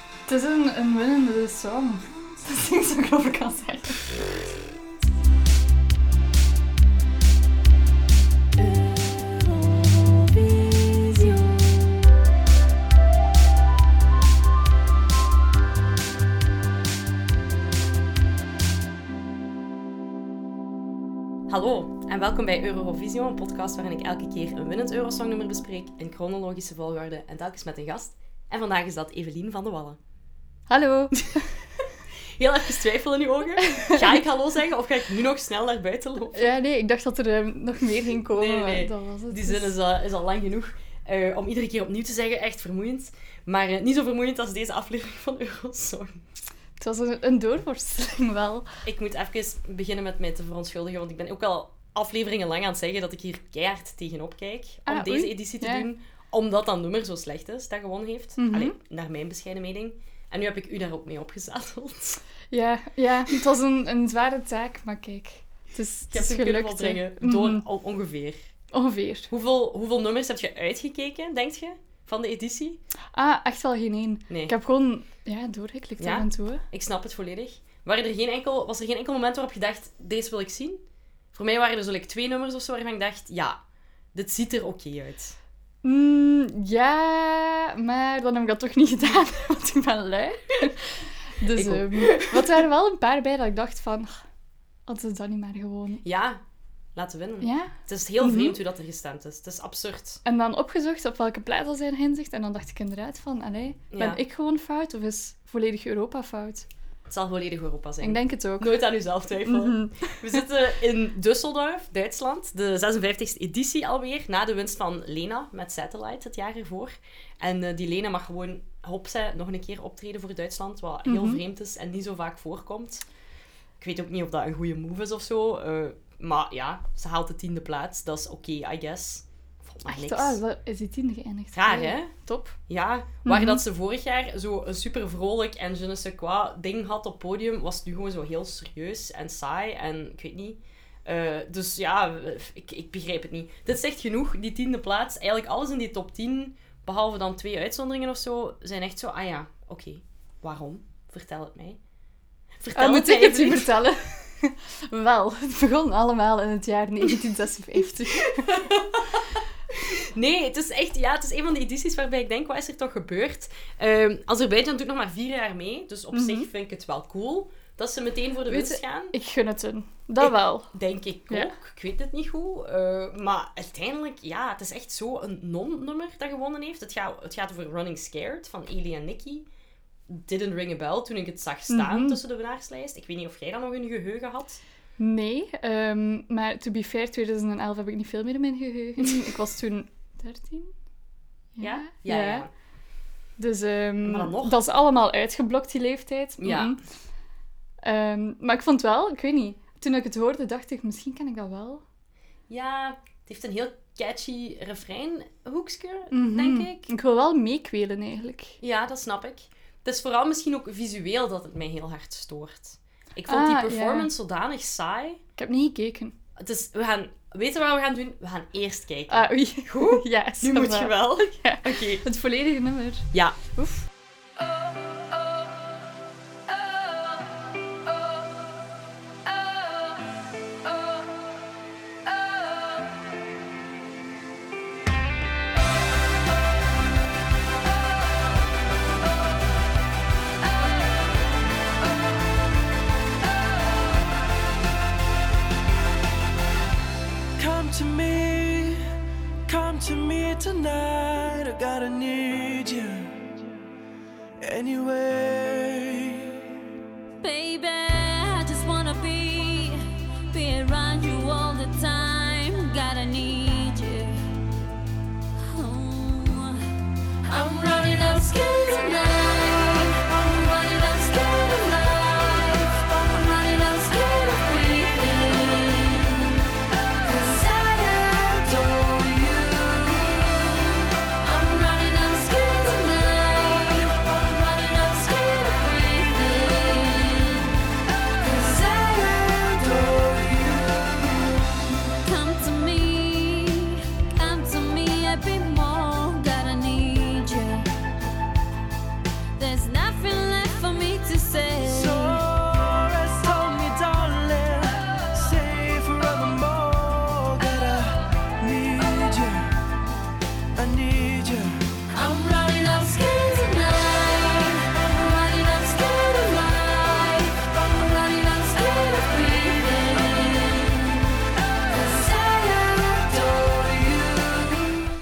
Het is een, een winnende song. Dat is niks wat ik over kan zeggen. Hallo en welkom bij Eurovision, een podcast waarin ik elke keer een winnend Eurosongnummer bespreek in chronologische volgorde en telkens met een gast. En vandaag is dat Evelien van de Wallen. Hallo. Heel even twijfel in uw ogen. Ga ik hallo zeggen of ga ik nu nog snel naar buiten lopen? Ja, nee, ik dacht dat er eh, nog meer ging komen, Nee, nee. maar dat was het. Die zin Dus- is, al- is al lang genoeg eh, om iedere keer opnieuw te zeggen. Echt vermoeiend. Maar eh, niet zo vermoeiend als deze aflevering van Eurosong. Het was een, een doorworsteling wel. Ik moet even beginnen met mij te verontschuldigen, want ik ben ook al afleveringen lang aan het zeggen dat ik hier keihard tegenop kijk om Ah, deze oei. editie te Ja. doen, omdat dat nummer zo slecht is dat gewonnen heeft. Mhm. Allee, naar mijn bescheiden mening. En nu heb ik u daar ook mee opgezadeld. Ja, ja het was een, een zware taak, maar kijk, het is, Ik het heb is ze kunnen gelukt. opbrengen hè. door Mhm, al ongeveer. ongeveer. Hoeveel, hoeveel nummers heb je uitgekeken, denk je, van de editie? Ah, echt wel geen één. Nee, Ik heb gewoon ja, doorgeklikt Ja? af en toe. hè. ik snap het volledig. Waren er geen enkel, was er geen enkel moment waarop je dacht, deze wil ik zien? Voor mij waren er zo like, twee nummers of zo waarvan ik dacht, ja, dit ziet er oké uit. Mm, ja, maar dan heb ik dat toch niet gedaan, want ik ben lui. Dus Ik ook. ehm, wat er wel een paar bij dat ik dacht van, "Ah, hadden ze dat niet maar gewoon. Ja, laten winnen. Ja, Het is heel Mhm. vreemd hoe dat er gestemd is. Het is absurd. En dan opgezocht op welke plaats dat zijn inzicht. En dan dacht ik inderdaad van, allee, ben Ja. ik gewoon fout of is volledig Europa fout? Het zal volledig Europa zijn. Ik denk het ook. Nooit aan uzelf twijfelen. Mhm. We zitten in Düsseldorf, Duitsland. De 56e editie alweer. Na de winst van Lena met Satellite het jaar ervoor. En eh, die Lena mag gewoon, hopsa, nog een keer optreden voor Duitsland. Wat heel Mhm. vreemd is en niet zo vaak voorkomt. Ik weet ook niet of dat een goede move is of zo. eh, maar ja, ze haalt de tiende plaats. Dat is oké, I guess. Vond maar Echt, niks. ah, dat is die tiende geëindigd. Raar, Ja, hè? Top. Ja, waar Mhm. dat ze vorig jaar zo een super vrolijk en je ne sais quoi ding had op podium, was het nu gewoon zo heel serieus en saai en ik weet niet. Eh, dus ja, ik, ik begrijp het niet. Dit zegt genoeg, die tiende plaats. Eigenlijk alles in die top 10, behalve dan twee uitzonderingen of zo, zijn echt zo, ah ja, oké. Waarom? Vertel het mij. Vertel Ah, moet ik mij, het u Evelien. vertellen? Wel, het begon allemaal in het jaar 1956. Nee, het is echt... Ja, het is een van de edities waarbij ik denk, wat is er toch gebeurd? Ehm Azerbeidzjan doet nog maar vier jaar mee, dus op Mhm. zich vind ik het wel cool dat ze meteen voor de Weet winst je- gaan. Ik gun het hun. Dat Ik- wel. Denk ik ook. Ja? Ik weet het niet goed. Eh, maar uiteindelijk, ja, het is echt zo'n non-nummer dat gewonnen heeft. Het gaat, het gaat over Running Scared van Eli en Nicky. Didn't ring a bell toen ik het zag staan Mhm. tussen de winnaarslijst. Ik weet niet of jij dat nog in je geheugen had. Nee, ehm, maar to be fair, 2011 heb ik niet veel meer in mijn geheugen. Ik was toen 13? Ja? Ja, ja. ja. Dus ehm, Maar dan nog. dat is allemaal uitgeblokt, die leeftijd. Ja. Mhm. Ehm, maar ik vond wel, ik weet niet, toen ik het hoorde dacht ik, misschien kan ik dat wel. Ja, het heeft een heel catchy refrein, hoekske, Mhm. denk ik. Ik wil wel meekwelen eigenlijk. Ja, dat snap ik. Het is vooral misschien ook visueel dat het mij heel hard stoort. Ik vond Ah, die ja. performance zodanig saai. Ik heb niet gekeken. Het is, we gaan, weten we wat we gaan doen? We gaan eerst kijken. Ah, oei. Goed? Ja, nu moet je wel. Ja. Oké. Het volledige nummer. Ja. Oef. Come to me, come to me tonight. I gotta need you anyway. Baby, I just wanna be be around you all the time. Gotta need you. Oh. I'm running out scared tonight. I'm running out scared of life. I'm running out scared of breathing. 'Cause I adore you. I'm running out scared tonight. I'm running out scared of breathing. 'Cause I adore you. Come to me, come to me a bit more. Gotta need you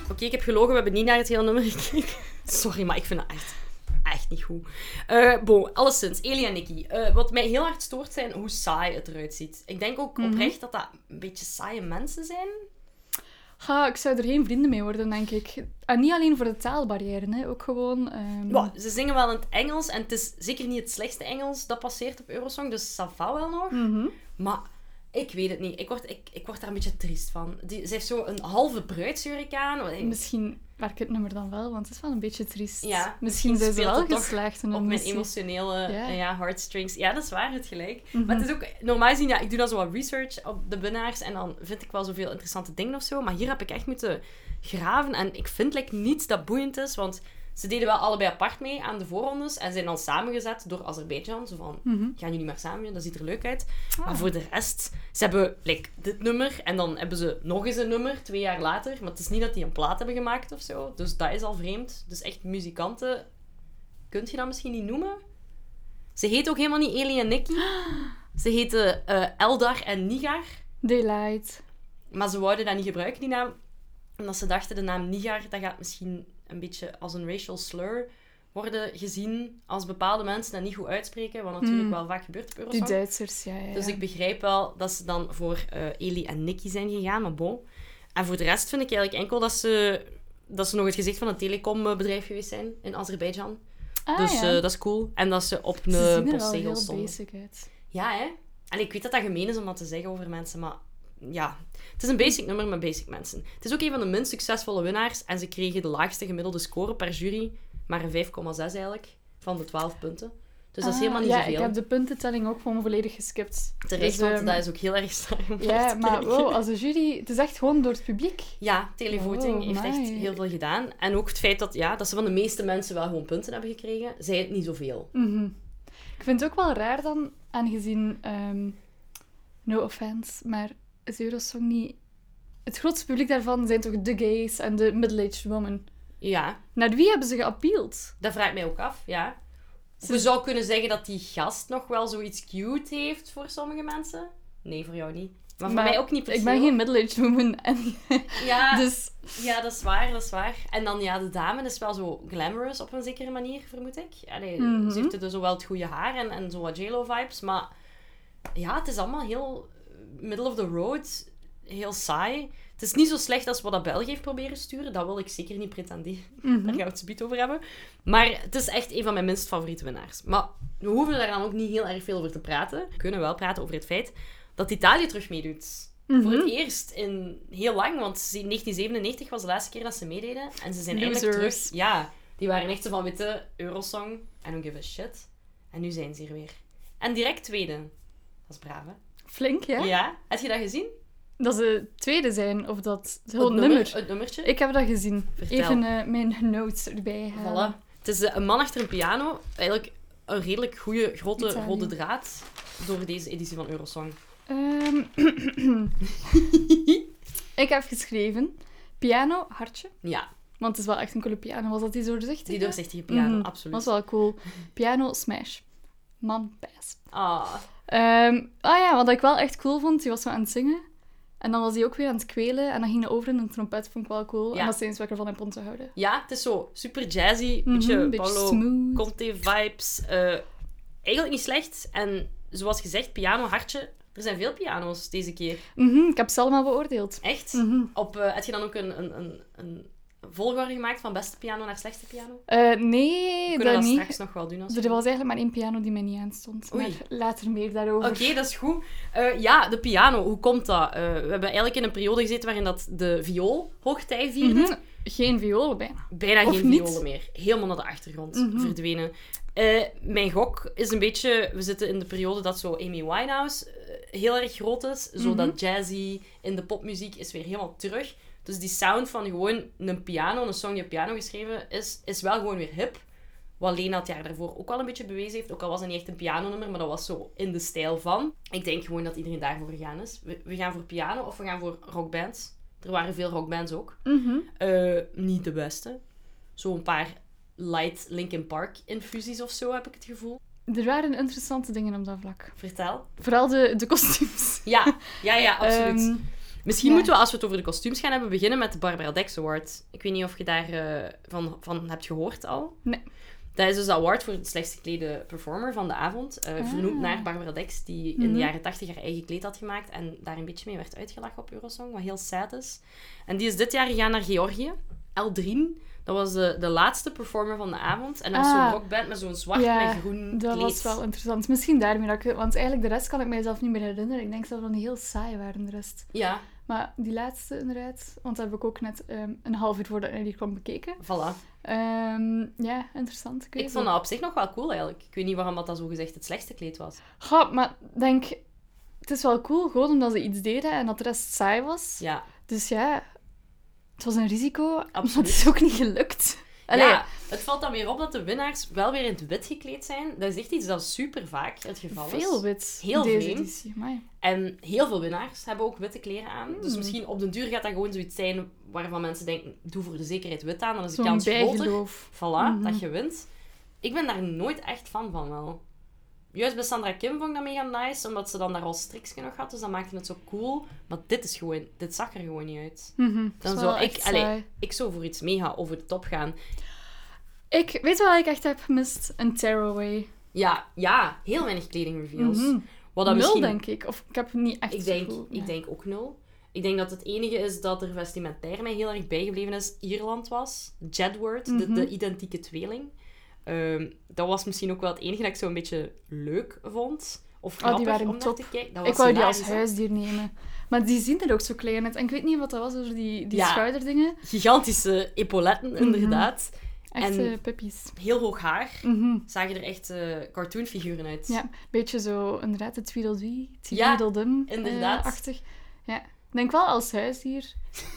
gekeken. Ik heb gelogen, we hebben niet naar het hele nummer gekeken. Sorry, maar ik vind dat echt, echt niet goed. Eh bon, alleszins, Elia en Nicky. Eh, wat mij heel hard stoort zijn hoe saai het eruit ziet. Ik denk ook Mhm. oprecht dat dat een beetje saaie mensen zijn. Ha, ik zou er geen vrienden mee worden, denk ik. En niet alleen voor de taalbarrière, hè. ook gewoon... ehm, Wa, ze zingen wel in het Engels en het is zeker niet het slechtste Engels dat passeert op Eurosong, dus ça va wel nog. mhm. Maar ik weet het niet. Ik word, ik, ik word daar een beetje triest van. Die, ze heeft zo een halve bruidsjurkaan. wat ik- Misschien werkt het nummer dan wel, want het is wel een beetje triest. Ja, misschien, misschien zijn ze speelt wel het toch geslaagd in Op een mijn missie. emotionele Ja. Mhm. eh, ja, heartstrings. Ja, dat is waar, het gelijk. Maar het is ook, normaal gezien, ja, ik doe dan zo wat research op de winnaars en dan vind ik wel zoveel interessante dingen of zo. Maar hier heb ik echt moeten graven en ik vind like, niets dat boeiend is, want ze deden wel allebei apart mee aan de voorrondes en zijn dan samengezet door Azerbeidzjan. Zo van, Mhm. gaan jullie maar samen doen, dat ziet er leuk uit. Maar voor de rest, ze hebben like, dit nummer en dan hebben ze nog eens een nummer twee jaar later. Maar het is niet dat die een plaat hebben gemaakt of zo, dus dat is al vreemd. Dus echt muzikanten, kunt je dat misschien niet noemen? Ze heet ook helemaal niet Eli en Nicky. Ze heten eh, Eldar en Nigar. Daylight. Maar ze wouden dat niet gebruiken, die naam. Omdat ze dachten, de naam Nigar, dat gaat misschien een beetje als een racial slur worden gezien. Als bepaalde mensen dat niet goed uitspreken. Wat natuurlijk wel vaak gebeurt op Die Eurosong. Duitsers, ja, ja, ja. Dus ik begrijp wel dat ze dan voor eh Eli en Nicky zijn gegaan, maar bon. En voor de rest vind ik eigenlijk enkel dat ze, dat ze nog het gezicht van een telecombedrijf geweest zijn in Azerbeidzjan. Ah, dus ja. eh, dat is cool. En dat ze op ze een zien er wel heel postzegel stonden. basic uit. Ja, hè? Allee, ik weet dat dat gemeen is om dat te zeggen over mensen, maar ja. Het is een basic nummer met basic mensen. Het is ook een van de minst succesvolle winnaars en ze kregen de laagste gemiddelde score per jury, maar een 5,6 eigenlijk, van de 12 punten. Dus dat is Ah, helemaal niet ja, zoveel. ik heb de puntentelling ook gewoon volledig geskipt. Terecht, Dus, want ehm, dat is ook heel erg saai om naar Ja, te maar oh. kijken. wow, als een jury... Het is echt gewoon door het publiek. Ja, televoting Wow, heeft echt Oh, amai. heel veel gedaan. En ook het feit dat, ja, dat ze van de meeste mensen wel gewoon punten hebben gekregen, zij het niet zoveel. Mhm. Ik vind het ook wel raar dan, aangezien, ehm, no offense, maar is Eurosong niet... Het grootste publiek daarvan zijn toch de gays en de middle-aged women. Ja, Naar wie hebben ze geappeeld? dat vraag ik mij ook af, ja. Ze zou kunnen zeggen dat die gast nog wel zoiets cute heeft voor sommige mensen. Nee, voor jou niet. Maar voor mij ook niet per Ik se, ben hoor. Ah. geen middle-aged woman. En, Ja, dus ja, dat is waar, dat is waar. En dan, ja, de dame is wel zo glamorous op een zekere manier, vermoed ik. Allee, Mhm. Ze heeft dus wel het goede haar en, en zo wat JLo-vibes, maar ja, het is allemaal heel eh, middle of the road, heel saai. Het is niet zo slecht als wat dat België heeft proberen sturen, dat wil ik zeker niet pretenderen. Daar gaan we het zometeen over hebben. Maar het is echt een van mijn minst favoriete winnaars. Maar we hoeven daar dan ook niet heel erg veel over te praten. We kunnen wel praten over het feit dat Italië terug meedoet. Voor het eerst in heel lang, want ze- 1997 was de laatste keer dat ze meededen. En ze zijn eigenlijk Losers. terug. Ja, die waren echt zo van witte Eurosong. I don't give a shit. En nu zijn ze hier weer. En direct tweede. Dat is braaf, hè? flink, ja? Ja? Heb je dat gezien? Dat ze tweede zijn, of dat... Het Het hele nummer. Het nummertje? Ik heb dat gezien. Vertel. Even eh, mijn notes erbij halen. Voilà. Het is eh, een man achter een piano. Eigenlijk een redelijk goede grote Italië. rode draad door deze editie van Eurosong. Ehm, ik heb geschreven piano, hartje. Ja, Want het is wel echt een coole piano. Was dat die doorzichtige? die doorzichtige piano, Mhm, absoluut. was wel cool. Piano, smash. Man, pass. Ah, Ehm, ah ja, wat ik wel echt cool vond, die was zo aan het zingen. En dan was hij ook weer aan het kwelen. En dan ging hij over in een trompet, vond ik wel cool. Ja. En dat is eens wat ik ervan heb om te houden. ja, het is zo super jazzy, beetje Mhm, Paolo smooth. Conte vibes. eh, eigenlijk niet slecht. En zoals gezegd, piano, hartje. Er zijn veel piano's deze keer. Mhm, ik heb ze allemaal beoordeeld. Echt? Mhm. Op, eh, heb je dan ook een, een, een, een volgorde gemaakt van beste piano naar slechtste piano? Eh, nee, Kunnen we dat dat niet. straks nog wel doen? Als Er we- was eigenlijk maar één piano die mij niet aanstond. Oei. Maar later meer daarover. Oké, dat is goed. Eh, ja, de piano, hoe komt dat? Eh, we hebben eigenlijk in een periode gezeten waarin dat de viool hoogtij vierde. Mhm. Geen viool bijna. Bijna Of geen niet? violen meer. Helemaal naar de achtergrond Mhm. verdwenen. Eh, mijn gok is een beetje... We zitten in de periode dat zo Amy Winehouse eh, heel erg groot is. Mhm. Zo dat jazzy in de popmuziek is weer helemaal terug. Dus die sound van gewoon een piano, een song die op piano geschreven is, is wel gewoon weer hip. Wat Lena het jaar daarvoor ook wel een beetje bewezen heeft. Ook al was het niet echt een pianonummer, maar dat was zo in de stijl van. Ik denk gewoon dat iedereen daarvoor gegaan is. We, we gaan voor piano of we gaan voor rockbands. Er waren veel rockbands ook. Mhm. Eh, niet de beste. Zo'n paar light Linkin Park infusies of zo heb ik het gevoel. Er waren interessante dingen op dat vlak. Vertel. Vooral de, de kostuums. Ja, ja, ja, absoluut. Ehm, Misschien Ja. moeten we, als we het over de kostuums gaan hebben, beginnen met de Barbara Dex Award. Ik weet niet of je daar eh, van, van hebt gehoord al. Nee. Dat is dus de award voor de slechtst geklede performer van de avond. eh, Ah. Vernoemd naar Barbara Dex, die in Mhm. de jaren 80 haar eigen kleed had gemaakt. En daar een beetje mee werd uitgelachen op Eurosong, wat heel sad is. En die is dit jaar gegaan naar Georgië. Eldrin, dat was de, de laatste performer van de avond. En dat is Ah. zo'n rockband met zo'n zwart Ja, en groen Dat kleed. was wel interessant. Misschien daarmee dat ik... het- Want eigenlijk de rest kan ik mijzelf niet meer herinneren. Ik denk dat we heel saai waren, de rest. Ja, Maar die laatste inderdaad, want daar heb ik ook net ehm, een half uur voordat hij die kwam bekeken. voilà. Ehm, ja, interessant. weet Ik vond het. dat op zich nog wel cool eigenlijk. Ik weet niet waarom dat, dat zo gezegd het slechtste kleed was. Ja, maar denk, het is wel cool, gewoon omdat ze iets deden en dat de rest saai was. Ja, Dus ja, het was een risico, maar absoluut. het is ook niet gelukt. Allee, Ja, het valt dan weer op dat de winnaars wel weer in het wit gekleed zijn. Dat is echt iets dat super vaak het geval is. veel wit Heel deze vreemd. editie. amai. En heel veel winnaars hebben ook witte kleren aan. Hmm. Dus misschien op den duur gaat dat gewoon zoiets zijn waarvan mensen denken, doe voor de zekerheid wit aan, dan is de Zo'n kans groter. bijgeloof. Voilà, Mhm. dat je wint. Ik ben daar nooit echt fan van wel. Juist bij Sandra Kim vond ik dat mega nice, omdat ze dan daar al strikje nog had, dus dat maakte het zo cool. Maar dit is gewoon, dit zag er gewoon niet uit. Mhm, het Dan is zou wel ik, echt allee, saai. ik zou voor iets mega over de top gaan. Ik weet wel wat ik echt heb gemist. Een Oh, tearaway. Ja, ja, heel weinig kledingreveals. Mhm. Wat Nul, dan misschien... denk ik. Of ik heb het niet echt Ik het denk, gevoel. ik denk ook nul. Ik denk dat het enige is dat er vestimentair mij heel erg bijgebleven is, Ierland was. Jedward, Mhm. de, de identieke tweeling. Ehm, dat was misschien ook wel het enige dat ik zo een beetje leuk vond. Of Oh, die grappig waren om naar top. te kijken. Dat Ik was wou die als hilarisch, hè? huisdier nemen. Maar die zien er ook zo klein uit. En ik weet niet wat dat was door die, die Ja. schouderdingen. Gigantische epauletten, Mhm. inderdaad. Echte En- puppies. Heel hoog haar. Mhm. Zagen er echt eh, cartoonfiguren uit. Ja, beetje zo inderdaad de Tweedledee, Ja, inderdaad. Tweedledum-achtig. eh, ja. Ik denk wel als huisdier.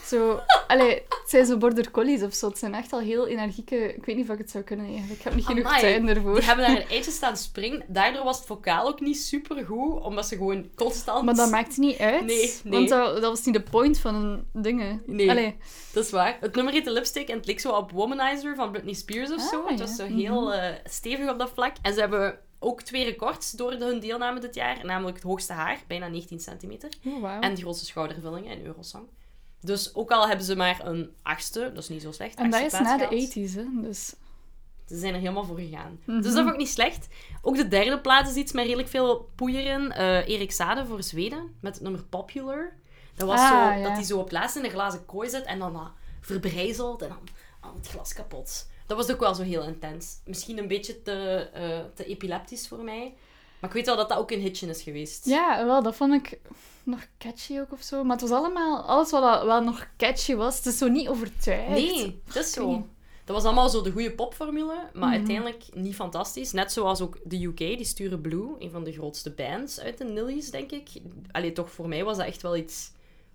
Zo, allee, het zijn zo border collies of zo. Het zijn echt al heel energieke... Ik weet niet of ik het zou kunnen eigenlijk. Ik heb niet genoeg Amai, tijd ervoor. Die hebben daar een eitje staan springen. Daardoor was het vocaal ook niet super goed, omdat ze gewoon constant... Maar dat maakt niet uit. Nee, nee. Want dat, dat was niet de point van hun dingen. Nee. Allee, Dat is waar. Het nummer heette Lipstick en het leek zo op Womanizer van Britney Spears of Ah, zo. Het was ja. zo heel eh, stevig op dat vlak. En ze hebben ook twee records door de- hun deelname dit jaar. Namelijk het hoogste haar, bijna 19 centimeter. oh, wauw. En de grootste schoudervullingen in Eurosong. Dus ook al hebben ze maar een achtste, dat is niet zo slecht. En dat is achtste na plaats de gehaald. 80s, hè. Dus Ze zijn er helemaal voor gegaan. Mhm. Dus dat vond ik niet slecht. Ook de derde plaats is iets met redelijk veel poeier in. Eh, Erik Sade voor Zweden, met het nummer Popular. Dat was Ah, zo, ja. dat hij zo op het laatst in een glazen kooi zit en dan dat verbrijzelt en dan al het glas kapot. Dat was ook wel zo heel intens. Misschien een beetje te, eh, te epileptisch voor mij. Maar ik weet wel dat dat ook een hitje is geweest. ja, wel, dat vond ik nog catchy ook of zo. Maar het was allemaal... Alles wat al- wel nog catchy was, het is zo niet overtuigd. Nee, het is weet zo. niet. Mhm. Dat was allemaal zo de goede popformule, maar uiteindelijk niet fantastisch. Net zoals ook de UK, die sturen Blue, een van de grootste bands uit de Nillies, denk ik. Allee, toch voor mij was dat echt wel iets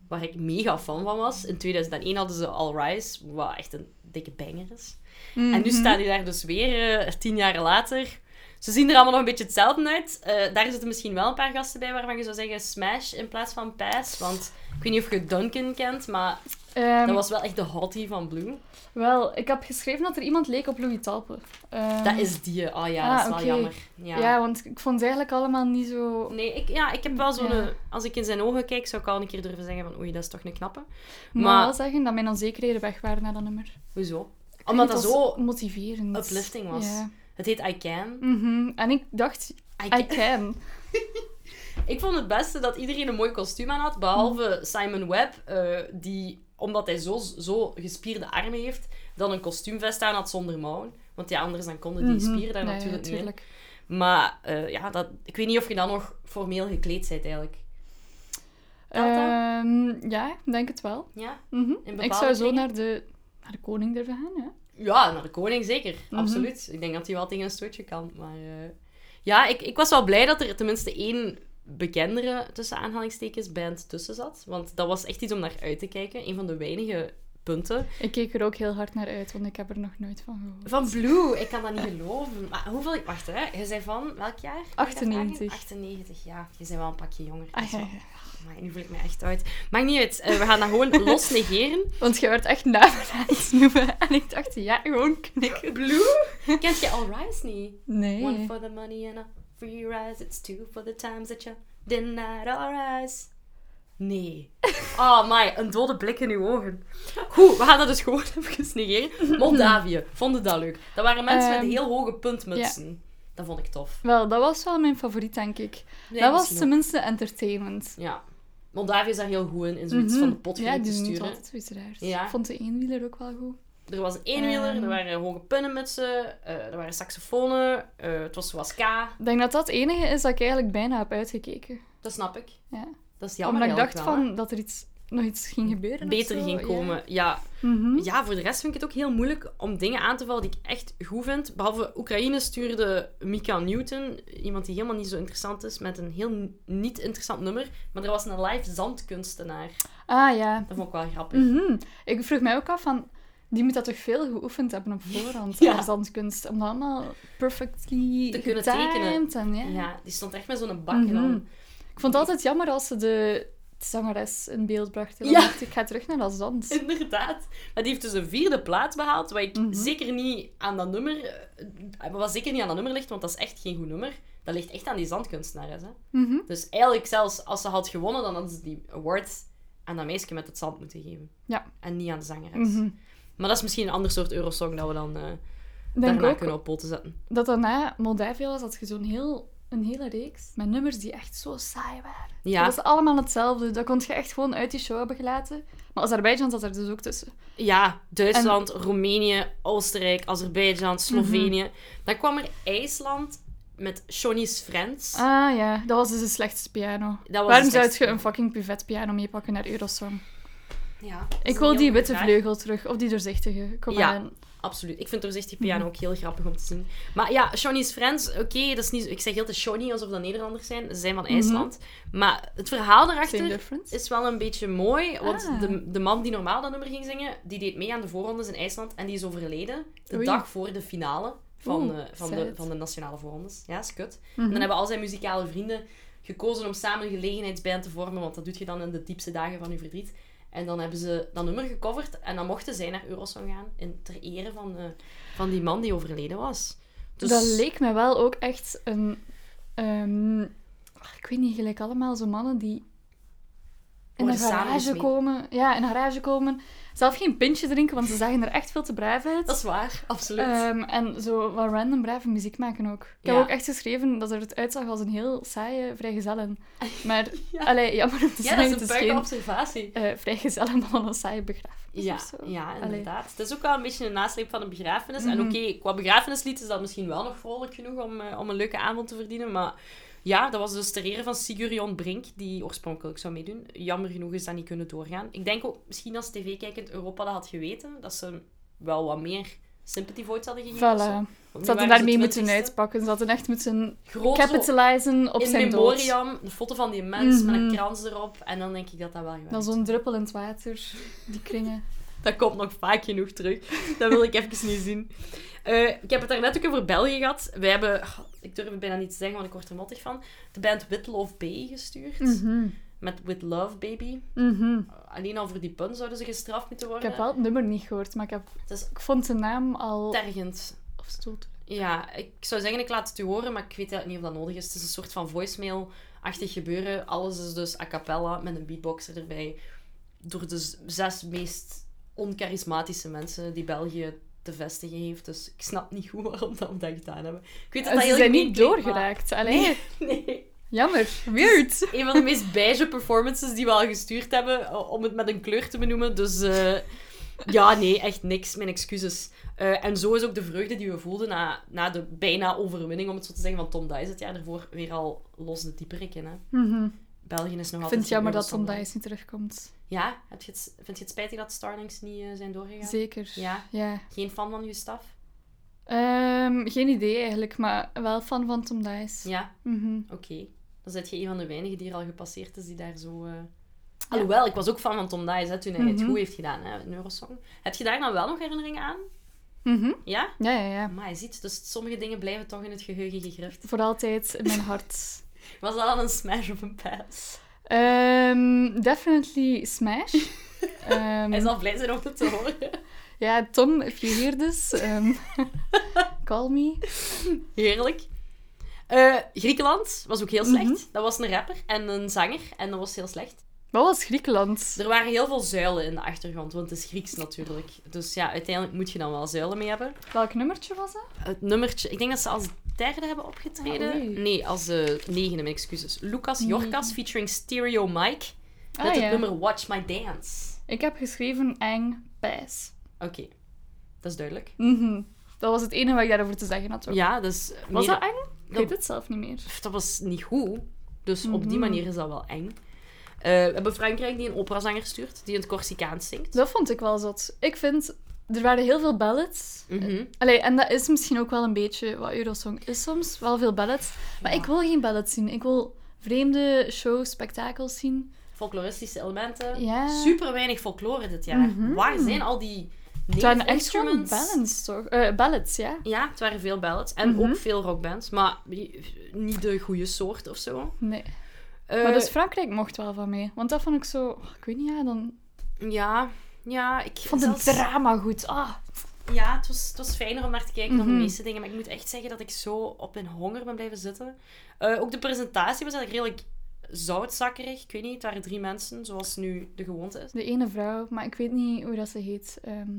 waar ik mega fan van was. In 2001 hadden ze All Rise, wat echt een dikke banger is. Mm. En Mhm. nu staan die daar dus weer, eh, tien jaar later. Ze zien er allemaal nog een beetje hetzelfde uit. Eh, daar zitten misschien wel een paar gasten bij waarvan je zou zeggen Smash in plaats van Pass. Want ik weet niet of je Duncan kent, maar Ehm, dat was wel echt de hottie van Blue. Wel, ik heb geschreven dat er iemand leek op Louis Talpe. Ehm, Dat is die. eh, Oh ja, dat Ah, is wel oké. jammer. Ja. Ja. want ik vond ze eigenlijk allemaal niet zo... Nee, ik, ja, ik heb wel zo'n... eh, Ja. Als ik in zijn ogen kijk, zou ik al een keer durven zeggen van oei, dat is toch een knappe. Ik moet Maar- wel zeggen dat mijn onzekerheden weg waren na dat nummer. Hoezo? Omdat Ik dat weet, het was zo... motiverend. uplifting was. Ja. Het heet I Can. Mhm. En ik dacht, I I Can. can. Ik vond het beste dat iedereen een mooi kostuum aan had, behalve Simon Webb, eh, die, omdat hij zo, zo gespierde armen heeft, dan een kostuumvest aan had zonder mouwen. Want ja, anders dan konden die Mhm. spieren daar Nee, natuurlijk niet in. tuurlijk. Maar eh, ja, dat, ik weet niet of je dan nog formeel gekleed bent eigenlijk. Telt dat? Ehm, ja, ik denk het wel. Ja? Mhm. bepaalde Ik zou zo kringen? naar de, naar de koning durven gaan, ja. Ja, naar de koning zeker. Mhm. Absoluut. Ik denk dat hij wel tegen een stootje kan. Maar eh, ja, ik, ik was wel blij dat er tenminste één bekendere, tussen aanhalingstekens, band tussen zat. Want dat was echt iets om naar uit te kijken. Een van de weinige punten. Ik keek er ook heel hard naar uit, want ik heb er nog nooit van gehoord. Van Blue, ik kan dat niet geloven. Maar hoeveel... Wacht, hè. Je zei van welk jaar? Mag ik dat vragen? 98. 98, ja. Je bent wel een pakje jonger. Ah, ja, Zo. ja. Amai, nu voel ik me echt oud. Maakt niet uit. Eh, we gaan dat gewoon los negeren. Want jij werd echt naamelijk noemen. En ik dacht, ja, gewoon knikken. Blue? Kent je All Rise niet? One Nee. for the money and a free rise. It's two for the times that you denied our eyes. Nee. Oh my, een dode blik in uw ogen. Goed, we gaan dat dus gewoon even negeren. Moldavië, vonden dat leuk. Dat waren mensen Ehm, met heel hoge puntmutsen. Dat vond ik tof. Wel, dat was wel mijn favoriet, denk ik. Nee, dat was misschien ook. tenminste entertainment. Ja. Moldavië is daar heel goed in, in zoiets Mhm. van de pot Ja, gelijk die te doen het sturen. altijd zoiets raars. Ja. Ik vond de eenwieler ook wel goed. Er was een eenwieler, Ehm. er waren hoge punnenmutsen, eh, er waren saxofonen, eh, het was zoals K. Ik denk dat dat het enige is dat ik eigenlijk bijna heb uitgekeken. Dat snap ik. Ja. Dat is jammer Omdat ik dacht eigenlijk wel, van hè. dat er iets, nog iets ging gebeuren. of Beter zo. ging Ja. komen. Ja. Mhm. ja, voor de rest vind ik het ook heel moeilijk om dingen aan te vallen die ik echt goed vind. Behalve Oekraïne stuurde Mika Newton, iemand die helemaal niet zo interessant is, met een heel n- niet interessant nummer. Maar er was een live zandkunstenaar. Ah ja. Dat vond ik wel grappig. Mhm. Ik vroeg mij ook af van, die moet dat toch veel geoefend hebben op voorhand, Ja. ja. zandkunst, om dat allemaal perfectly Te kunnen getimed tekenen. En, ja. Ja, die stond echt met zo'n bak Mhm. en dan... Ik vond het altijd jammer als ze de zangeres in beeld bracht. En Ja. dan dacht ik, ik ga terug naar dat zand. Inderdaad. Maar die heeft dus een vierde plaats behaald, wat ik Mhm. zeker niet aan dat nummer... eh, Wat zeker niet aan dat nummer ligt, want dat is echt geen goed nummer. Dat ligt echt aan die zandkunstenares, hè. Mhm. Dus eigenlijk zelfs als ze had gewonnen, dan hadden ze die award aan dat meisje met het zand moeten geven. Ja. En niet aan de zangeres. Mhm. Maar dat is misschien een ander soort Eurosong dat we dan eh Ik denk daarna ook kunnen op poten zetten. dat daarna Moldavië was, had je zo'n heel, een hele reeks met nummers die echt zo saai waren. Ja, Dat was allemaal hetzelfde. Dat kon je echt gewoon uit die show hebben gelaten. Maar Azerbeidzjan zat er dus ook tussen. ja Duitsland, Roemenië, Oostenrijk, Mhm. Azerbeidzjan, Slovenië. Dan kwam er IJsland met Johnny's Friends. Ah ja, dat was dus de slechtste piano. Dat was Waarom de zou slechtste. je een fucking pivetpiano meepakken naar Eurosong? Ja, dat is Ik een wil die heel goede witte vraag. vleugel terug, of die doorzichtige. Kom Ja. maar aan. Absoluut. Ik vind Mhm. doorzichtig piano ook heel grappig om te zien. Maar ja, Johnny's Friends, oké, dat is niet... zo- Ik zeg heel te Johnny, alsof dat Nederlanders zijn. Ze zijn Mhm. van IJsland. Maar het verhaal daarachter... Same difference. is wel een beetje mooi, want Ah. de, de man die normaal dat nummer ging zingen, die deed mee aan de voorrondes in IJsland en die is overleden de Oei. dag voor de finale van, Oeh, eh, van, de, sad. van de nationale voorrondes. Ja, is kut. En Mhm. dan hebben al zijn muzikale vrienden gekozen om samen een gelegenheidsband te vormen, want dat doet je dan in de diepste dagen van je verdriet. En dan hebben ze dat nummer gecoverd en dan mochten zij naar Eurosong gaan in, ter ere van, eh, van die man die overleden was. Dus Dat leek me wel ook echt een... ehm, ik weet niet, gelijk allemaal zo mannen die in een Worden samen garage gesmeed. komen. Ja, in een garage komen. Zelf geen pintje drinken, want ze zagen er echt veel te braaf uit. dat is waar, absoluut. Ehm, en zo wat random brave muziek maken ook. Ik Ja. heb ook echt geschreven dat er het uitzag als een heel saaie vrijgezellen. Maar, allee, jammer om te ja, zeggen, het dat is een is puike geen observatie. eh vrijgezellen dan een saaie begrafenis Ja, of zo. ja Allee. inderdaad. Het is ook wel een beetje een nasleep van een begrafenis. En Mhm. oké, qua begrafenislied is dat misschien wel nog vrolijk genoeg om, eh, om een leuke avond te verdienen. Maar ja, dat was dus ter ere van Sigurion Brink, die oorspronkelijk zou meedoen. Jammer genoeg is dat niet kunnen doorgaan. Ik denk ook, misschien als tv-kijkend Europa dat had geweten, dat ze wel wat meer sympathy votes hadden gegeven. of zo. Voilà. Want nu Ze hadden waren daarmee moeten 20ste. uitpakken. Ze hadden echt moeten Groot zo capitalizen op in zijn dood. memoriam, een foto van die mens met een Mhm. krans erop. En dan denk ik dat dat wel gewerkt Dan zo'n druppel in het water, die kringen. Dat komt nog vaak genoeg terug. Dat wil ik even niet zien. Eh, ik heb het daarnet ook over België gehad. Wij hebben, oh, ik durf het bijna niet te zeggen, want ik word er mottig van, de band With Love Bay gestuurd. Mhm. Met With Love Baby. Mhm. Alleen al voor die pun zouden ze gestraft moeten Ik worden. heb wel het nummer niet gehoord, maar ik, heb, Het is ik vond de naam al... tergend. Of stoot. Ja, ik zou zeggen, ik laat het u horen, maar ik weet eigenlijk niet of dat nodig is. Het is een soort van voicemail-achtig gebeuren. Alles is dus a cappella, met een beatboxer erbij. Door de z- zes meest oncharismatische mensen die België te vestigen heeft. Dus ik snap niet goed waarom dat we dat gedaan hebben. Ik weet dat dat Eh, Ze heel zijn goed niet klinkt, doorgeraakt. maar- Allee, Nee, nee. jammer. Weird. Een van de meest beige performances die we al gestuurd hebben, eh, om het met een kleur te benoemen. Dus eh, ja, nee, echt niks. Mijn excuses. Eh, en zo is ook de vreugde die we voelden na, na de bijna overwinning, om het zo te zeggen, van Tom Dice het jaar daarvoor weer al los de dieperik in. Hè. Mhm. België is nog Ik altijd... vind het jammer een dat Tom Eurosong. Dice niet terugkomt. Ja? Heb je het, vind je het spijtig dat Starlings niet eh, zijn doorgegaan? Zeker. Ja. Ja. Geen fan van je staf? Ehm, geen idee eigenlijk, maar wel fan van Tom Dice. Ja? Mhm. Oké. Dan zit je een van de weinigen die er al gepasseerd is, die daar zo... eh, Alhoewel, ik was ook fan van Tom Dice, hè, toen hij het Mhm. goed heeft gedaan, hè, in Eurosong. Heb je daar dan wel nog herinneringen aan? Mhm. Ja? Ja, ja, ja. Maar je ziet, dus sommige dingen blijven toch in het geheugen gegrift. Voor altijd in mijn hart. Was dat al een smash of een pass? Ehm, definitely Smash. Ehm, Hij zal blij zijn om het te horen. Ja, Tom, if you hear this, ehm, call me. Heerlijk. Eh, Griekenland was ook heel slecht. Mhm. Dat was een rapper en een zanger en dat was heel slecht. Wat was Griekenland? Er waren heel veel zuilen in de achtergrond, want het is Grieks natuurlijk. Dus ja, uiteindelijk moet je dan wel zuilen mee hebben. Welk nummertje was dat? Het nummertje, ik denk dat ze als derde hebben opgetreden. Ah, oei. nee, als de negende, mijn excuses. Lucas Jorkas featuring Stereo Mike Ah, met het ja. nummer Watch My Dance. Ik heb geschreven eng pijs. Oké, dat is duidelijk. Mhm. Dat was het enige wat ik daarover te zeggen had. ook. Ja, dus... Was meer- dat eng? Ik Dat- weet het zelf niet meer. Pff, dat was niet goed. Dus op die Mhm. manier is dat wel eng. Eh, we hebben Frankrijk die een operazanger stuurt, die in het Corsicaans zingt. Dat vond ik wel zot. Ik vind, er waren heel veel ballads. Mhm. Allee, en dat is misschien ook wel een beetje wat Eurosong is soms. Wel veel ballads. Maar ik wil geen ballads zien. Ik wil vreemde shows, spektakels zien. Folkloristische elementen. Ja. Super weinig folklore dit jaar. Mhm. Waar zijn al die Het native waren echt gewoon instruments? ballads, toch? Eh, ballads, ja. Ja, het waren veel ballads. En Mhm. ook veel rockbands. Maar niet de goede soort of zo. Nee. Eh, Maar dus Frankrijk mocht wel van mij. Want dat vond ik zo... oh, ik weet niet, ja, dan... Ja, ja. Ik Ik vond het zelfs- drama goed. Ah, Ja, het was, het was fijner om naar te kijken dan Mhm. de meeste dingen. Maar ik moet echt zeggen dat ik zo op mijn honger ben blijven zitten. Eh, ook de presentatie was eigenlijk redelijk zoutzakkerig. Ik weet niet, het waren drie mensen, zoals nu de gewoonte is. de ene vrouw, maar ik weet niet hoe dat ze heet. Ehm,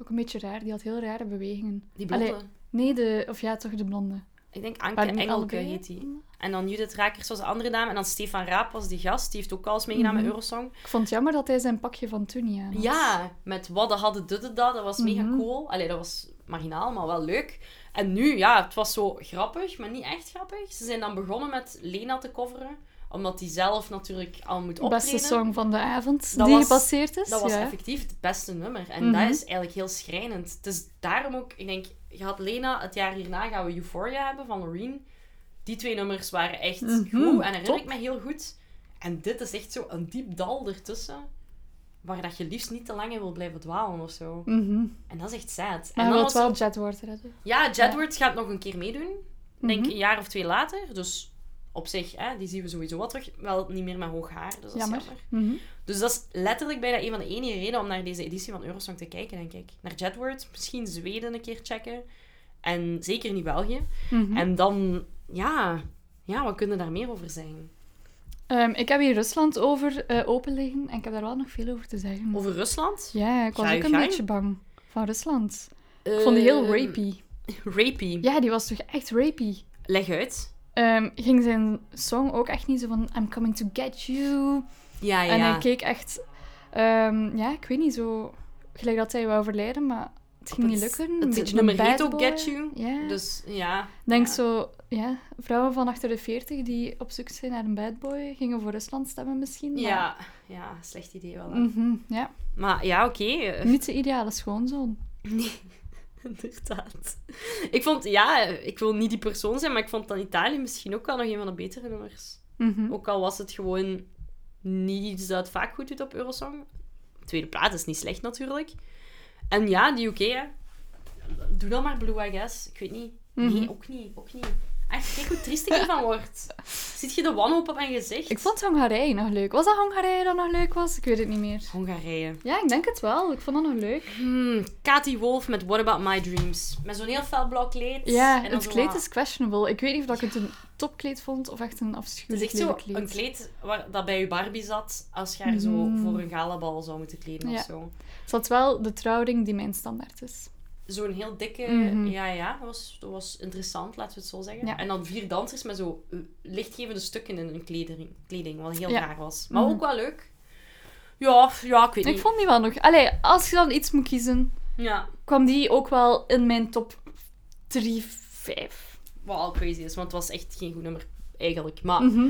ook een beetje raar. Die had heel rare bewegingen. Die blonde. Allee. Nee, de... Of ja, toch de blonde. Ik denk Maar Anke niet Engelke elke, hè? heet die. En dan Judith Rakers was de andere dame. En dan Stefan Raap was die gast. Die heeft ook al eens meegedaan Mhm. met Eurosong. Ik vond het jammer dat hij zijn pakje van toen niet aan had. Ja, met Wadden hadden dudde dat. Dat was mega Mhm. cool. Allee, dat was marginaal, maar wel leuk. En nu, ja, het was zo grappig, maar niet echt grappig. Ze zijn dan begonnen met Lena te coveren. Omdat die zelf natuurlijk al moet De optreden. beste song van de avond Dat die was- gepasseerd is. Dat was ja. effectief het beste nummer. En Mhm. dat is eigenlijk heel schrijnend. Het is daarom ook, ik denk, je had Lena, het jaar hierna gaan we Euphoria hebben van Loreen. Die twee nummers waren echt Mhm, goed en herinner ik top. me heel goed. En dit is echt zo een diep dal ertussen, waar dat je liefst niet te lang in wil blijven dwalen of zo. Mhm. En dat is echt sad. Maar en hij dan wil was wel er- Jet Ward redden. Ja, Jedward gaat nog een keer meedoen. Ik denk Mhm. een jaar of twee later. Dus op zich, hè, die zien we sowieso wat terug. Wel niet meer met hoog haar, dus dat is Jammer. jammer. Mhm. Dus dat is letterlijk bijna een van de enige redenen om naar deze editie van Eurosong te kijken, denk ik. Naar Jedward, misschien Zweden een keer checken. En zeker niet België. Mhm. En dan, ja, ja, wat kunnen daar meer over zijn? Ehm, ik heb hier Rusland over eh, open liggen en ik heb daar wel nog veel over te zeggen. Over Rusland? Ja, ik was Ga je ook een gang. Ehm, beetje bang van Rusland. Ik vond die heel rapey. Eh, Rapey. Ja, die was toch echt rapey? Leg uit. Ehm, ging zijn song ook echt niet zo van I'm coming to get you. Ja, Ah, ja. En hij keek echt, ehm, ja, ik weet niet, zo gelijk dat hij wou overlijden, maar het ging niet Het- lukken. Een het beetje nummer een heet bad ook boy. Get You. Ja. Dus ja. denk ja. zo, ja, vrouwen van achter de 40 die op zoek zijn naar een bad boy, gingen voor Rusland stemmen misschien. maar- Ja, ja, slecht idee wel. hè. Mhm, ja. Maar ja, oké. eh, Niet de ideale schoonzoon. Inderdaad. Ik vond, ja, ik wil niet die persoon zijn, maar ik vond dan Italië misschien ook wel nog een van de betere nummers. Mhm. Ook al was het gewoon niet iets dat het vaak goed doet op Eurosong. Tweede plaats is niet slecht natuurlijk. En ja, die UK, hè. Doe dan maar Blue, I guess. Ik weet niet. Nee, Mhm. ook niet. Ook niet. Echt, kijk hoe triest ik ervan word. Ziet je de wanhoop op mijn gezicht? Ik vond Hongarije nog leuk. Was dat Hongarije dat nog leuk was? Ik weet het niet meer. Hongarije. Ja, ik denk het wel. Ik vond dat nog leuk. Hmm, Katy Wolf met What About My Dreams. Met zo'n heel fel blauw kleed. Ja, en dan het zo kleed wat- is questionable. Ik weet niet of dat ik het een topkleed vond of echt een Het is afschuwelijk echt zo lelijk kleed. een kleed waar, dat bij je Barbie zat als je haar zo Mhm. voor een galabal zou moeten kleden Ja. of zo. Het had wel de trouwring die mijn standaard is. Zo'n heel dikke... Mhm. Ja, ja, dat was, dat was interessant, laten we het zo zeggen. Ja. En dan vier dansers met zo eh, lichtgevende stukken in hun kleding, kleding wat heel Ja. raar was. Maar Mhm. ook wel leuk. Ja, ja, ik weet Ik niet. vond die wel nog... Allee, als je dan iets moet kiezen, Ja, kwam die ook wel in mijn top 3, 5. wat al crazy is, want het was echt geen goed nummer, eigenlijk. Maar Mhm.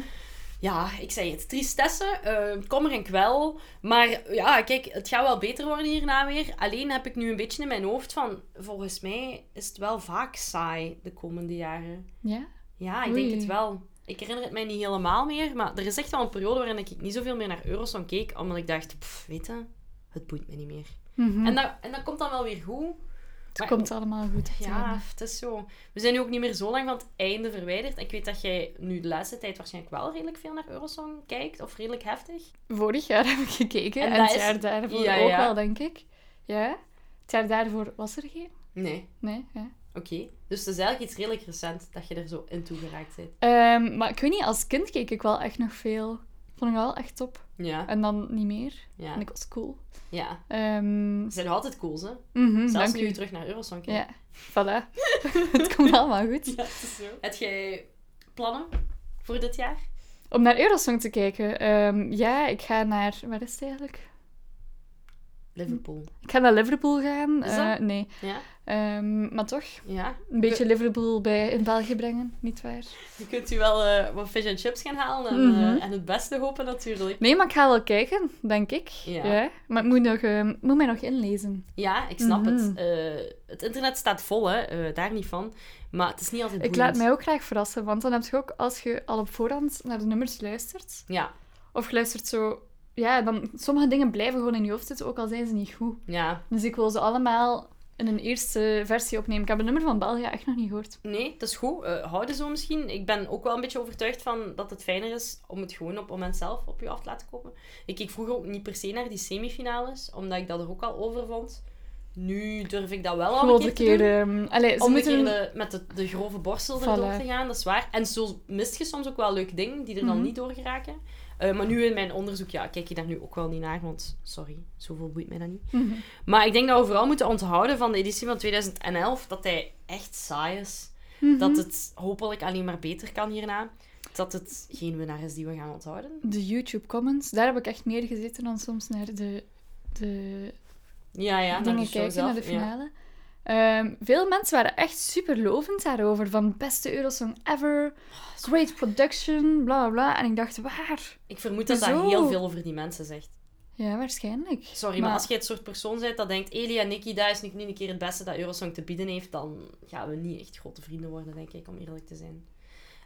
Ja, ik zei het. Tristesse, eh kommer en kwel. Maar ja, kijk, het gaat wel beter worden hierna weer. Alleen heb ik nu een beetje in mijn hoofd van... Volgens mij is het wel vaak saai de komende jaren. Ja? Ja, ik Oei. denk het wel. Ik herinner het mij niet helemaal meer. Maar er is echt wel een periode waarin ik niet zoveel meer naar Eurosong keek. Omdat ik dacht, pff, weet je, het boeit me niet meer. Mhm. En, dat, en dat komt dan wel weer goed. het maar- komt allemaal goed. op het Ja, einde. het is zo. We zijn nu ook niet meer zo lang van het einde verwijderd. Ik weet dat jij nu de laatste tijd waarschijnlijk wel redelijk veel naar Eurosong kijkt. Of redelijk heftig. Vorig jaar heb ik gekeken en, En dat het is- jaar daarvoor Ja, ook ja. wel, denk ik. Ja? Het jaar daarvoor was er geen. Nee. Nee, ja. Oké. Dus het is eigenlijk iets redelijk recent dat je er zo in toe geraakt bent. Ehm, maar ik weet niet, als kind keek ik wel echt nog veel. Vond ik wel echt top. Ja, En dan niet meer. ja, En ik was cool. ja. Ehm Ze zijn nog altijd cool, hè? mhm, Zelfs dank nu je u. terug naar Eurosong kijkt. Ja, voilà. het komt allemaal goed. Ja, het is zo. Heb jij plannen voor dit jaar? Om naar Eurosong te kijken. ehm, ja, ik ga naar... Waar is het eigenlijk? Liverpool. Ik ga naar Liverpool gaan. Is dat- Eh, nee. Ja? Ehm, maar toch, Ja? een beetje Liverpool bij in België brengen, nietwaar? Je kunt u wel eh, wat fish and chips gaan halen en, Mhm. eh, en het beste hopen natuurlijk. Nee, maar ik ga wel kijken, denk ik. Ja. Ja. Maar ik moet, nog, ehm, moet mij nog inlezen. Ja, ik snap het. Mhm. Eh, het internet staat vol, hè. eh, daar niet van. Maar het is niet altijd Ik laat boeiend. mij ook graag verrassen, want dan heb je ook, als je al op voorhand naar de nummers luistert, Ja, of je luistert zo... Ja, dan, sommige dingen blijven gewoon in je hoofd zitten, ook al zijn ze niet goed. ja. Dus ik wil ze allemaal in een eerste versie opnemen. Ik heb een nummer van België echt nog niet gehoord. Nee, dat is goed. Eh, houden zo misschien. Ik ben ook wel een beetje overtuigd van dat het fijner is om het gewoon op het moment zelf op je af te laten komen. Ik keek vroeger ook niet per se naar die semifinales, omdat ik dat er ook al over vond. Nu durf ik dat wel al Gewoon een keer te doen. verkeer... ehm allee, ze Om een moeten... keer eh, de- met de, de grove borstel Voilà. erdoor te gaan, dat is waar. En zo mist je soms ook wel leuke dingen die er dan Mhm. niet door geraken. Eh, maar nu in mijn onderzoek, ja, kijk je daar nu ook wel niet naar, want sorry, zoveel boeit mij dat niet. Mhm. Maar ik denk dat we vooral moeten onthouden van de editie van 2011 dat hij echt saai is. Mhm. Dat het hopelijk alleen maar beter kan hierna. Dat het geen winnaar is die we gaan onthouden. De YouTube comments, daar heb ik echt meer gezeten dan soms naar de, de Ja, ja. naar die dingen show kijken, zelf, naar de ja. finale. Ehm, veel mensen waren echt super lovend daarover. Van beste Eurosong ever, great production, bla bla bla. En ik dacht, waar? Ik vermoed dat dat Zo. heel veel over die mensen zegt. Ja, waarschijnlijk. Sorry, maar, als je het soort persoon bent dat denkt, Eli en Nicky, dat is nu niet een keer het beste dat Eurosong te bieden heeft, dan gaan we niet echt grote vrienden worden, denk ik, om eerlijk te zijn.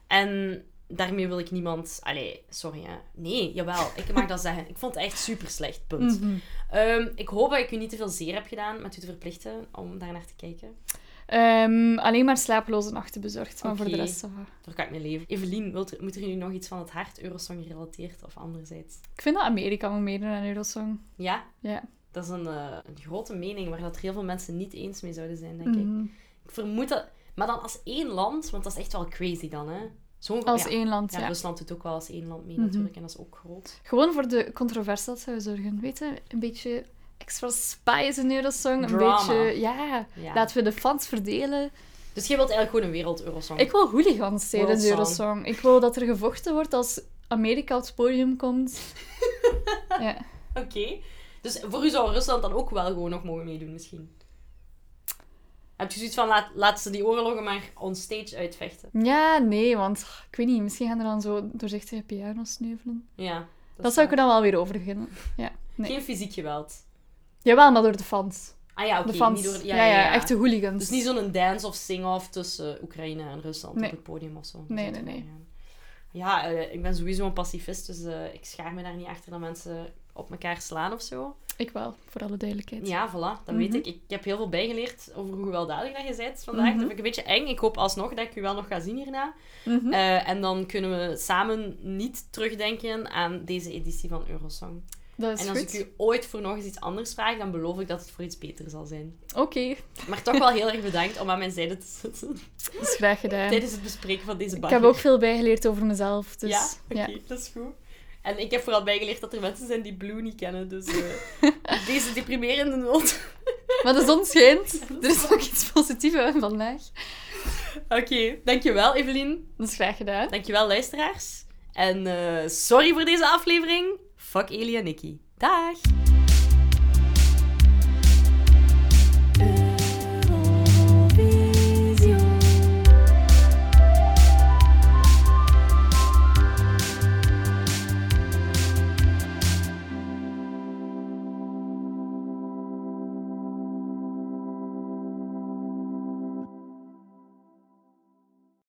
En daarmee wil ik niemand... Allee, sorry hè. Nee, jawel, ik mag dat zeggen. Ik vond het echt super slecht, punt. Mhm. Ehm, ik hoop dat ik u niet te veel zeer heb gedaan met u te verplichten om daar naar te kijken. Ehm, alleen maar slapeloze nachten bezorgd, maar voor de Oké. rest... ça va. Daar kan ik mee leven. Evelien, wilt er- moet er nu nog iets van het hart Eurosong gerelateerd of anderzijds? Ik vind dat Amerika moet meedoen aan Eurosong. Ja? Ja. Dat is een, eh, een grote mening waar dat heel veel mensen niet eens mee zouden zijn, denk ik. Mhm. Ik vermoed dat... Maar dan als één land, want dat is echt wel crazy dan, hè? Zo'n... Als ja. één land, Ja, ja. Rusland doet ook wel als één land mee, Mhm. natuurlijk. En dat is ook groot. Gewoon voor de controverse dat zou zorgen. Weet je, een beetje extra spice in Eurosong. Een Drama. beetje, ja. Ja. Laten we de fans verdelen. Dus jij wilt eigenlijk gewoon een wereld-Eurosong? Ik wil hooligans zijn in World de Eurosong. Ik wil dat er gevochten wordt als Amerika op het podium komt. ja. Oké. Dus voor u zou Rusland dan ook wel gewoon nog mogen meedoen, misschien? Heb je zoiets van, laat, laat ze die oorlogen maar on stage uitvechten? ja, nee, want ik weet niet, misschien gaan er dan zo doorzichtige piano's sneuvelen. Ja. Dat, is zou ik waar. er dan wel weer over beginnen. Ja, nee. Geen fysiek geweld. Jawel, maar door de fans. Ah ja, oké. de fans. niet door- ja, ja, echte hooligans. Dus niet zo'n dance of sing-off tussen Oekraïne en Rusland Nee. op het podium of zo. Dat Nee, zou nee, toch nee. wel gaan. Ja, eh, ik ben sowieso een pacifist, dus eh, ik schaar me daar niet achter dat mensen op elkaar slaan of zo. Ik wel, voor alle duidelijkheid. Ja, voilà, dat weet Mhm. ik. Ik heb heel veel bijgeleerd over hoe gewelddadig dat je bent vandaag. Dat vind ik een beetje eng. Ik hoop alsnog dat ik u wel nog ga zien hierna. Mhm. Eh, en dan kunnen we samen niet terugdenken aan deze editie van Eurosong. dat is en als goed. ik u ooit voor nog eens iets anders vraag, dan beloof ik dat het voor iets beter zal zijn. Oké, Maar toch wel heel erg bedankt om aan mijn zijde te zitten dat is graag gedaan. tijdens het bespreken van deze Ik bagger. heb ook veel bijgeleerd over mezelf. Dus, ja, ja, oké, dat is goed. En ik heb vooral bijgeleerd dat er mensen zijn die Blue niet kennen, dus eh, deze deprimerende noot. Maar de zon schijnt. er is ook iets positiefs aan vandaag. Oké, dankjewel Evelien. Dat is graag gedaan. Dankjewel luisteraars. En eh, sorry voor deze aflevering. Fuck Elia Nikki. Dag!